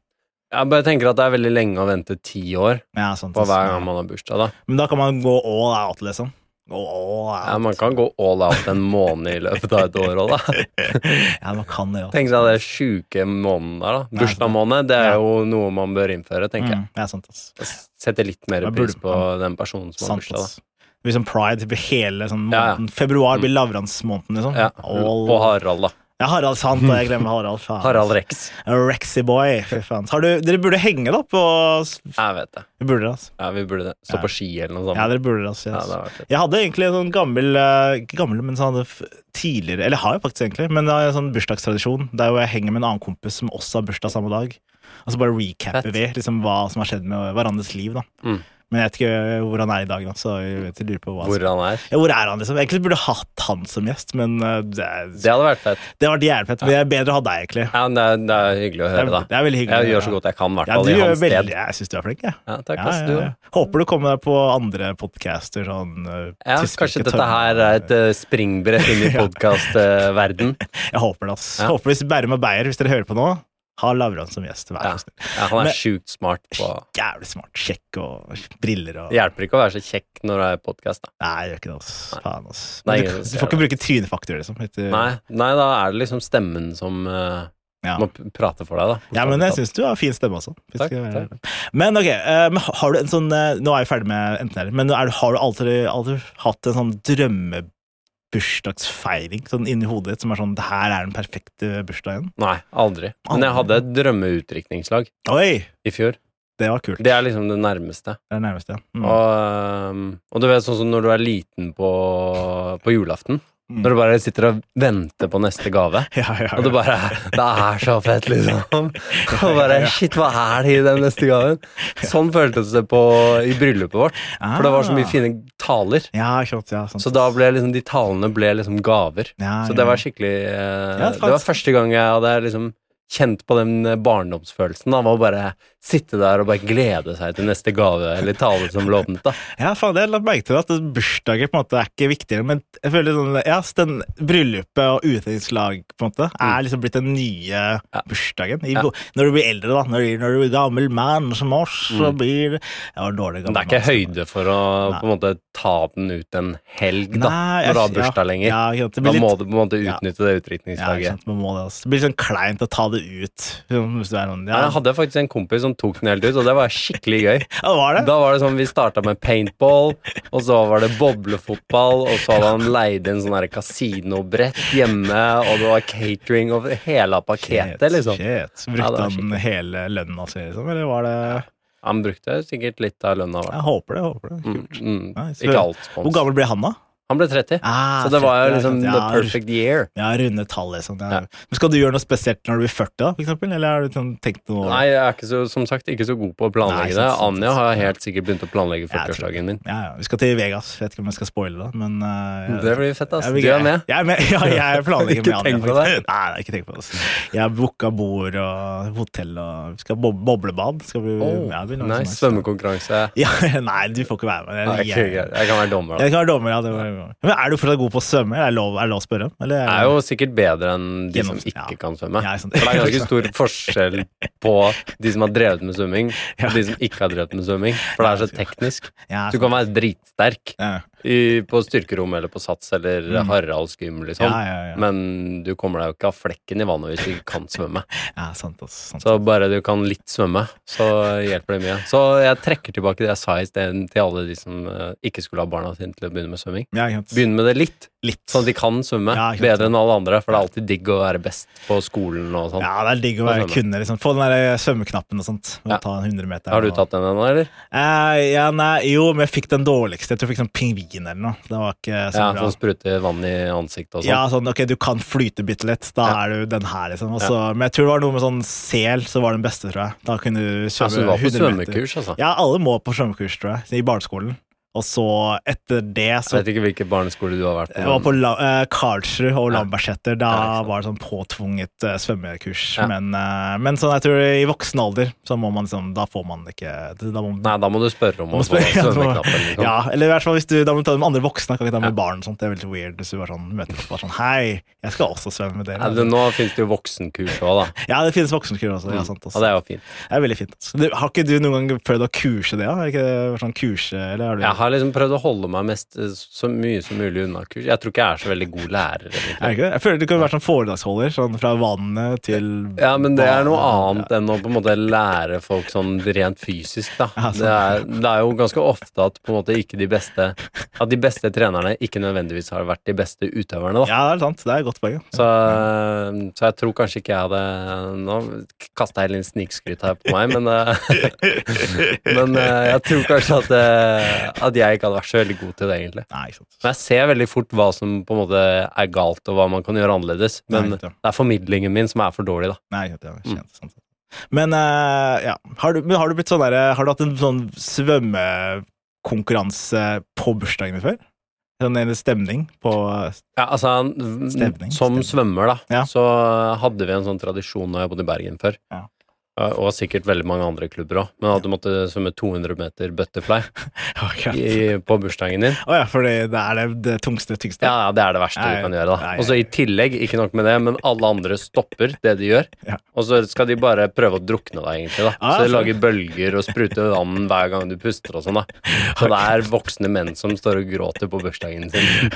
S2: Jeg bare tenker at det er veldig lenge å vente ti år
S1: Ja, sant,
S2: på
S1: ass.
S2: hver gang man har bursdag, da.
S1: Men da kan man gå all out, liksom. Gå all out.
S2: Ja, man kan gå all out en måned i løpet av et år òg, da.
S1: [laughs] ja, man kan det, ja.
S2: Tenk deg den sjuke måneden der, da. Bursdagsmåned, det er jo noe man bør innføre, tenker jeg.
S1: Mm, ja, sant, ass.
S2: Sette litt mer
S1: Man
S2: pris
S1: burde-
S2: på den personen som har
S1: Sant,
S2: bursdag, da.
S1: ass. Det blir sånn pride blir hele sånn
S2: Ja, ja. Mm.
S1: måneden. Februar blir lavransmåneden, liksom.
S2: Ja.
S1: All-
S2: Og Harald, da.
S1: Ja, Harald Sant, og jeg glemmer Harald. Faen.
S2: Harald Rex.
S1: Rexy boy. Fy faen. Har du, dere burde henge da på
S2: Jeg vet det.
S1: Dere burde det, altså.
S2: Ja, vi burde det. Stå
S1: Ja.
S2: på ski eller noe sånt.
S1: Ja, dere burde det, altså.
S2: Ja,
S1: yes.
S2: det har vært det.
S1: Jeg hadde egentlig en sånn gammel eh, Ikke gammel, men sånn hadde f- tidligere Eller har jeg faktisk egentlig, men det er en sånn bursdagstradisjon der hvor jeg henger med en annen kompis som også har bursdag samme dag. Og så bare recapper
S2: Fett.
S1: vi liksom hva som har skjedd med hverandres liv, da.
S2: Mm.
S1: Men jeg vet ikke hvor han er i dag, da, så jeg vet, jeg lurer på hva
S2: Hvor han er.
S1: ja, hvor er han, liksom? Egentlig burde jeg hatt han som gjest, men eh, det, er-
S2: Det hadde vært fett.
S1: det har vært jævlig fett. Men det er bedre å ha deg, egentlig.
S2: Ja, men det, er, det er hyggelig å
S1: Det er,
S2: høre,
S1: det
S2: da.
S1: er veldig hyggelig.
S2: Jeg gjør så godt jeg kan, i hvert
S1: Ja,
S2: fall
S1: du
S2: i
S1: gjør
S2: hans
S1: veldig,
S2: sted.
S1: jeg syns du er flink, jeg.
S2: Ja, takk,
S1: Ja,
S2: ass,
S1: ja,
S2: du.
S1: ja. Håper du kommer deg på andre podcaster sånn eh,
S2: Ja,
S1: Tidsbruk
S2: kanskje
S1: i
S2: dette
S1: Tørre.
S2: her er et eh, springbrett inn i podkastverden.
S1: [laughs] Jeg håper det, ass.
S2: Ja.
S1: Håper hvis Bærum og Beyer, hvis dere hører på nå, ha Lavran som gjest. Vær
S2: Ja.
S1: så snill.
S2: Ja, han
S1: Men-
S2: er sjukt smart på
S1: Jævlig smart. Sjekk og briller og
S2: Det hjelper ikke å være så kjekk når det er podkast, da.
S1: Nei, jeg gjør ikke det, ass. Faen, ass.
S2: Nei,
S1: Men du,
S2: ingen som
S1: du
S2: ser
S1: får ikke
S2: det.
S1: bruke trynefaktor, liksom. etter-
S2: Nei, nei, da er det liksom stemmen som eh,
S1: Ja.
S2: må p- prate for deg, da.
S1: Ja, men jeg syns du har fin stemme også. Vi
S2: Takk,
S1: skal være
S2: takk.
S1: ærlige. Men ok, eh, men har du en sånn eh, Nå er vi ferdig med enten eller, men er, du- har du alltid, alltid hatt en sånn drømmebursdagsfeiring sånn inni hodet ditt som er sånn Det her er den perfekte bursdagen?
S2: Nei, aldri. Men jeg hadde et drømmeutdrikningslag
S1: Oi!
S2: i fjor.
S1: Det var kult.
S2: Det er liksom det nærmeste.
S1: Det er nærmest, ja. Mm.
S2: Og, um, og du vet sånn som når du er liten på, på julaften,
S1: Mm.
S2: når du bare sitter og venter på neste gave.
S1: [laughs] ja, ja,
S2: Og du
S1: ja.
S2: bare Det er så fett,
S1: [laughs]
S2: liksom. Og bare Shit, hva er det i den neste gaven? Sånn føltes det på, i bryllupet vårt. For det var så mye
S1: Ah.
S2: fine taler.
S1: Ja, ikke sant, ja, sant.
S2: Så da ble liksom de talene ble liksom gaver.
S1: Ja,
S2: Så
S1: ja.
S2: det var skikkelig eh,
S1: Ja,
S2: Det var første gang jeg hadde liksom kjent på den eh, barndomsfølelsen av å bare sitte der og bare glede seg til neste gave eller tale som ble åpnet, da.
S1: Ja, faen, jeg la merke til at bursdager på en måte er ikke viktigere, men jeg føler sånn, ja, så den bryllupet og utdrikningslag på en måte
S2: Mm.
S1: er liksom blitt den nye bursdagen. I, Når du blir eldre, da. Når, du- når du blir gammel mann som oss, så blir det Jeg var dårlig
S2: Men
S1: gammel.
S2: Mm. det er ikke
S1: mann,
S2: høyde for å på en måte ta den ut en helg, da,
S1: Nei,
S2: når du har
S1: jeg-
S2: bursdag
S1: ja,
S2: lenger.
S1: ja, ikke sant, det
S2: da
S1: blir
S2: må
S1: litt-
S2: du på en måte
S1: ja. så-
S2: utnytte det
S1: Ja, ikke
S2: utdrikningslaget.
S1: sant, man må det, altså. Det blir sånn kleint å ta det ut. sånn, Hvis du er sånn,
S2: Nei,
S1: ja.
S2: Jeg hadde faktisk en kompis som tok den helt ut, og det var skikkelig gøy.
S1: [laughs] ja, var det?
S2: Da var det sånn, Vi starta med paintball, og så var det boblefotball, og så hadde han leid inn sånn her kasinobrett hjemme, og det var catering og hele
S1: Shit,
S2: paketet, liksom.
S1: shit. Så
S2: Ja,
S1: Brukte
S2: det var
S1: han
S2: skikkelig.
S1: hele lønna si, liksom? Eller var det
S2: Han brukte sikkert litt av lønna. i hvert
S1: Jeg
S2: fall.
S1: håper det. jeg håper det.
S2: Mm, mm.
S1: Nice.
S2: Ikke alt.
S1: Hvor
S2: spons.
S1: gammel ble han, da?
S2: Han ble 30,
S1: Ah,
S2: så det var
S1: 30,
S2: jo liksom
S1: ja,
S2: the
S1: ja,
S2: perfect year.
S1: Ja, runde tall, liksom. Det er-
S2: Ja.
S1: Men skal du gjøre noe spesielt når du blir 40, da, for eksempel? Eller har du sånn tenkt noe
S2: Nei, jeg er ikke så, som sagt ikke så god på
S1: Nei,
S2: å planlegge
S1: sant,
S2: det.
S1: sant,
S2: Anja
S1: sant.
S2: har helt sikkert begynt å planlegge
S1: Ja, jeg tror
S2: 40-årsdagen min.
S1: Ja, ja. Vi skal til Vegas. Jeg vet ikke om jeg skal spoile det, men eh,
S2: Det blir fett, ass.
S1: jeg
S2: Du
S1: blir
S2: er
S1: gøy.
S2: med.
S1: Jeg er med. [laughs] Ja, jeg planlegger
S2: Ikke
S1: med
S2: tenk på
S1: faktisk.
S2: det.
S1: Nei, nei, ikke tenk på det. ass. Jeg har booka bord og hotell og vi skal bob boblebad. Skal vi,
S2: Oh,
S1: ja, det blir noe sånn,
S2: nice.
S1: ass.
S2: Svømmekonkurranse.
S1: Ja, [laughs] nei, du får ikke være med.
S2: Nei,
S1: Jeg,
S2: ikke
S1: jeg,
S2: greit. Jeg kan være dommer, da.
S1: kan være dommer, ja. Det var, men er du fortsatt god på å svømme? Er det lov, er det lov å spørre? Eller,
S2: Jeg er jo sikkert bedre enn de som
S1: Gjennoms- ja.
S2: ikke kan svømme.
S1: Ja,
S2: For
S1: sant.
S2: det er
S1: [laughs]
S2: ganske stor forskjell på de som har drevet med svømming, og de som ikke har drevet med svømming. For det er så teknisk.
S1: Ja,
S2: Du kan være dritsterk
S1: Ja. Mm.
S2: i, på styrkerom eller på sats eller Haraldsgym, liksom.
S1: Ja, ja, ja.
S2: Men du kommer deg jo ikke av flekken i vannet hvis du ikke kan svømme.
S1: ja, sant, ass, sant.
S2: Så bare du kan litt svømme, så hjelper det mye. Så jeg trekker tilbake det jeg sa i sted til alle de som eh, ikke skulle ha barna sine til å begynne med svømming.
S1: Ja, ikke sant.
S2: Begynn med det litt,
S1: litt.
S2: sånn at de kan svømme
S1: Ja, ikke sant.
S2: bedre enn alle andre. For det er alltid digg å være best på skolen og sånn.
S1: Ja, det er digg å
S2: Hva
S1: være
S2: svømmer?
S1: kunne. Liksom. Få den der svømmeknappen og sånt. Og
S2: Ja.
S1: ta en 100 meter.
S2: Har du
S1: og-
S2: tatt den ennå, eller?
S1: Eh, ja, nei, jo, men jeg fikk den dårligste. Jeg tror jeg fikk sånn pingvin eller noe. Det var ikke så
S2: Ja, sånn
S1: bra.
S2: Som spruter vann i ansiktet og sånn.
S1: Ja, sånn, ok, du kan flyte bitte litt. Da
S2: Ja.
S1: er du den her, liksom. Og så- Men jeg tror det var noe med sånn sel som var den beste, tror jeg. Da kunne du
S2: Ja, så du
S1: svømme
S2: var på
S1: 100 meter.
S2: svømmekurs, altså?
S1: Ja, alle må på svømmekurs, tror jeg. I barneskolen. Og så, etter det,
S2: Jeg
S1: så
S2: vet ikke hvilken barneskole du har vært
S1: jeg var på
S2: på.
S1: La eh, Karlsrud og
S2: Ja.
S1: Lambertseter. Da
S2: Ja, ikke sant.
S1: var det sånn påtvunget eh, svømmekurs.
S2: Ja.
S1: Men, eh, men sånn, jeg tror i voksen alder så må man liksom Da får man ikke Da må
S2: Nei, da må du spørre om
S1: man
S2: å
S1: må
S2: få
S1: [laughs] spørre-
S2: svømmeknappen. Liksom.
S1: ja, eller i hvert fall hvis du da må du ta det med andre voksne. Kan ikke ta det med
S2: Ja.
S1: barn. og Sånt. Det er veldig weird hvis du bare sånn, møter opp og bare sånn Hei, jeg skal også svømme med
S2: Ja, det,
S1: dere.
S2: nå finnes det jo voksenkurs òg, da.
S1: Ja, det finnes voksenkur også. Ja, sant,
S2: Og
S1: også.
S2: Mm. det er jo fint.
S1: Det er veldig fint. altså. Du, har ikke du noen gang prøvd å kurse det? da? Har ikke det vært sånn kurse, eller har du
S2: Jeg har liksom prøvd å holde meg mest eh, så mye som mulig unna kurs. Jeg tror ikke jeg er så veldig god lærer.
S1: Er det ikke
S2: egentlig.
S1: det? Jeg føler du kunne vært sånn foredragsholder, sånn fra vannet til
S2: Ja, men det er noe
S1: banen.
S2: annet enn å på en måte lære folk sånn rent fysisk, da.
S1: Ja,
S2: Det er, det er jo ganske ofte at på en måte ikke de beste At de beste trenerne ikke nødvendigvis har vært de beste utøverne, da.
S1: Ja, det er sant. Det er et godt poeng. ja.
S2: Så, så jeg tror kanskje ikke jeg hadde Nå kasta jeg litt snikskryt her på meg, men eh, [laughs] Men eh, jeg tror kanskje at, eh, at jeg ikke hadde vært så veldig god til det, egentlig.
S1: Nei, ikke sant.
S2: Men jeg ser veldig fort hva som på en måte er galt, og hva man kan gjøre annerledes. Men
S1: Nei,
S2: det
S1: ja.
S2: er formidlingen min som er for dårlig, da.
S1: Nei, ikke sant, ja,
S2: Mm.
S1: ikke sant, sant. sånn Men eh, ja, har du, men har du blitt sånn derre Har du hatt en sånn svømmekonkurranse på bursdagen din før? Sånn en stemning på eh,
S2: Ja, altså, n-
S1: Stevning,
S2: som
S1: stevning.
S2: svømmer, da,
S1: Ja.
S2: så hadde vi en sånn tradisjon da jeg bodde i Bergen før.
S1: Ja.
S2: Eh, Og sikkert veldig mange andre klubber òg, men at du måtte svømme 200 meter
S1: [laughs]
S2: butterfly
S1: Å
S2: i, på bursdagen din.
S1: ja, for det er det, det tungste, tyngste.
S2: Ja, ja, det er det verste
S1: Nei,
S2: du kan gjøre, da.
S1: nei,
S2: Og så i tillegg, ikke nok med det, men alle andre stopper det de gjør,
S1: Ja.
S2: og så skal de bare prøve å drukne deg, egentlig, da.
S1: Ah,
S2: Så de
S1: sånn.
S2: lager bølger og spruter vann hver gang du puster og sånn, da. Så det er voksne menn som står og gråter på bursdagen sin.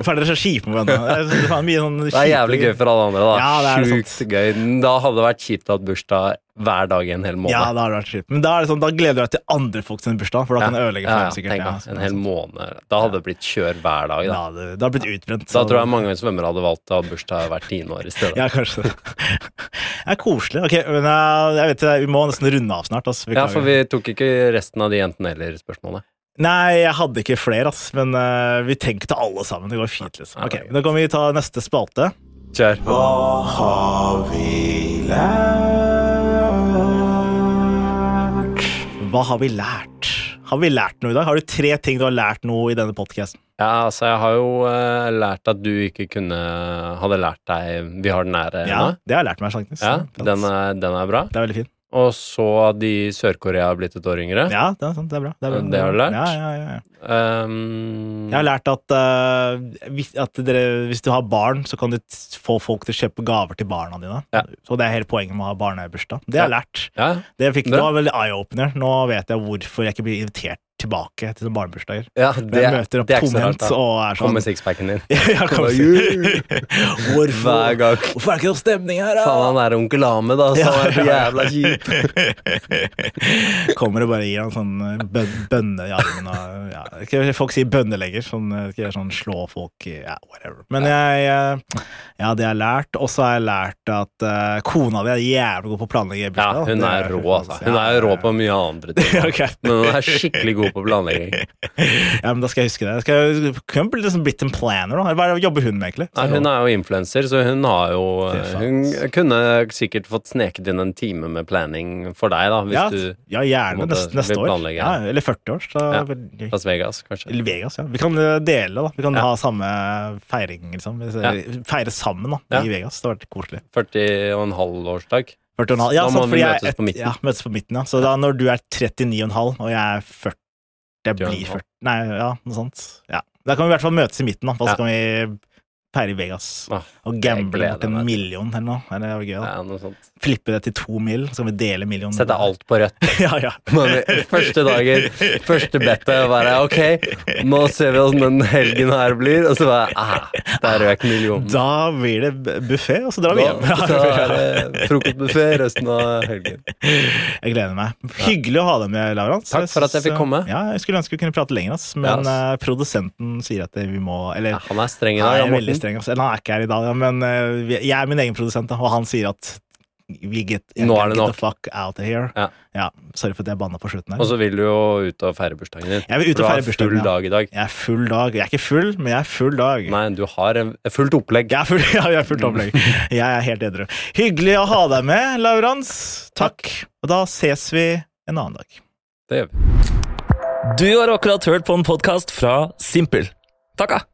S1: Hvorfor er dere så kjipe med hverandre? Det er faen mye sånn
S2: Det er jævlig gøy for alle andre, da.
S1: Ja, det er det
S2: Sjukt gøy. Da hadde det vært kjipt å ha bursdag hver dag i en hel måned.
S1: Ja, da har det vært kjipt. Men da, er det sånn, da gleder du deg til andre folk sin bursdag, for da kan det ødelegge for
S2: Ja, ja,
S1: dem sikkert. ja,
S2: tenk da,
S1: sånn,
S2: en hel
S1: sånn.
S2: måned. Da hadde det blitt kjør hver dag,
S1: Da
S2: da.
S1: hadde det har blitt utbrent.
S2: Da
S1: så-
S2: tror jeg mange svømmere hadde valgt å ha bursdag hvert tiende år i stedet.
S1: Ja, kanskje det. [laughs] Det er koselig. Ok, men eh, jeg vet, det, vi må nesten runde av snart. Altså.
S2: Ja, for vi tok ikke resten av de enten-eller-spørsmålene.
S1: Nei, jeg hadde ikke flere, ass, men eh, vi tenker til alle sammen. Det går fint, liksom. Ok, Da kan vi ta neste spalte.
S2: Kjør.
S3: Hva har vi lært?
S1: Hva har vi lært? Har vi lært noe i dag? Har du tre ting du har lært noe i denne podkasten?
S2: Ja, altså, jeg har jo eh, lært at du ikke kunne Hadde lært deg Vi har den nære
S1: Ja,
S2: ennå.
S1: det har jeg lært meg, faktisk.
S2: Ja, den er, den er bra.
S1: Det er veldig fint.
S2: Og så at de i Sør-Korea har blitt et år yngre.
S1: Ja, det er, sant, det er bra. er bra.
S2: Det har du lært?
S1: Ja, ja, ja, ja.
S2: Um,
S1: Jeg har lært at, eh, hvis- at dere, hvis du har barn, så kan du t- få folk til å kjøpe gaver til barna dine.
S2: Ja.
S1: Så det er hele poenget med å ha barnebursdag. Det har jeg lært.
S2: ja,
S1: Det, fikk, det
S2: Bra.
S1: var veldig eye-opener. Nå vet jeg hvorfor jeg ikke blir invitert tilbake til sånne barnebursdager.
S2: ja,
S1: Når
S2: det,
S1: jeg møter opp
S2: det er ikke så rart,
S1: tomhendt
S2: da.
S1: og er
S2: Kom med
S1: sånn
S2: sixpacken din.
S1: [laughs] Ja, kom og si.
S2: Hver gang.
S1: Hvorfor, hvorfor er det ikke noe stemning her, da?
S2: Faen, han er onkel Ahmed, da, så
S1: Ja,
S2: han er så
S1: ja.
S2: jævla kjip.
S1: [laughs] Kommer og bare gir han sånn eh, bøn, bønne i armen og ja. ikke- Folk sier bønnelegger, sånn, eh, ikke sånn slå folk i ja, whatever. Men jeg eh, Ja, det har jeg lært. Og så har jeg lært at eh, kona di er jævlig god på å planlegge
S2: Ja,
S1: bursdag.
S2: hun
S1: Det
S2: er rå, altså. Hun
S1: ja.
S2: er jo rå på mye andre ting.
S1: Ja, ok.
S2: Men hun er skikkelig god god på planlegging.
S1: Ja, men Da skal jeg huske det. Jeg skal, jeg kunne bli liksom blitt en planner nå. Hva er det- jobber hun med, egentlig?
S2: Nei, hun er jo influenser, så hun har jo
S1: Det er
S2: Hun
S1: sant.
S2: kunne sikkert fått sneket inn en time med planning for deg, da, hvis
S1: ja,
S2: du
S1: ja, gjerne
S2: på en måte
S1: neste, neste
S2: vil
S1: år.
S2: planlegge.
S1: Ja, eller 40 år. Så,
S2: Ja.
S1: vel-
S2: Las Vegas, kanskje.
S1: Eller Vegas, ja. Vi kan eh, dele, da. Vi kan
S2: Ja.
S1: ha samme feiring, liksom. Vi ser-
S2: Ja.
S1: Feire sammen, da,
S2: Ja.
S1: i Vegas. Det hadde vært koselig.
S2: 40 og en halv årsdag.
S1: 40 og en halv. Ja,
S2: Da må
S1: sant,
S2: vi
S1: fordi jeg,
S2: møtes på midten.
S1: Ja, møtes på midten, ja. Så da når du er 39,5, og jeg er 40 Jeg
S2: 40 og en
S1: blir
S2: halv.
S1: 40 Nei, ja, noe sånt. Ja. Da kan vi i hvert fall møtes i midten, da. Og så
S2: Ja.
S1: kan vi feire i Vegas.
S2: Ah,
S1: Og
S2: jeg
S1: gamble
S2: gleder
S1: mot en
S2: meg.
S1: million eller noe. Det hadde vært gøy, da.
S2: Ja, noe sånt.
S1: Flippe det til to mil, så kan vi dele millionen.
S2: Sette alt på rødt.
S1: [laughs] ja, ja.
S2: Bare Første dagen, første bettet, bare ok, nå ser vi åssen den helgen her blir, og så bare ah, der røk millionen.
S1: Da blir det buffé, og så drar vi hjem. [laughs]
S2: så er det frokostbuffé resten av helgen.
S1: Jeg gleder meg. Hyggelig å ha deg med, Laurans.
S2: Takk for at jeg fikk
S1: synes,
S2: komme.
S1: Ja, jeg skulle ønske vi kunne prate lenger, ass.
S2: Ja,
S1: men
S2: ass.
S1: eh, produsenten sier at vi må Eller
S2: Ja, han er streng i
S1: han
S2: dag,
S1: er
S2: ja,
S1: veldig
S2: Morten.
S1: streng, ass. Eller han er ikke her i dag, ja, men eh, vi- jeg er min egen produsent, da, og han sier at vi get, jeg
S2: Nå
S1: can
S2: er det
S1: get
S2: nok.
S1: the fuck out of here.
S2: Ja.
S1: Sorry for at jeg banna på slutten
S2: Og
S1: her.
S2: så vil du jo ut og feire bursdagen din.
S1: Jeg vil ut
S2: For
S1: og
S2: du har
S1: feire bursdagen,
S2: full
S1: ja.
S2: dag i dag.
S1: Jeg er full dag. Jeg er ikke full, men jeg er full dag.
S2: Nei, du har en- fullt opplegg.
S1: Jeg er full, [laughs] ja, jeg er fullt opplegg. Jeg er helt edru. Hyggelig å ha deg med, Laurans. Takk. Og da ses vi en annen dag.
S2: Det gjør vi.
S6: Du har akkurat hørt på en podkast fra Simpel. Takk! ja.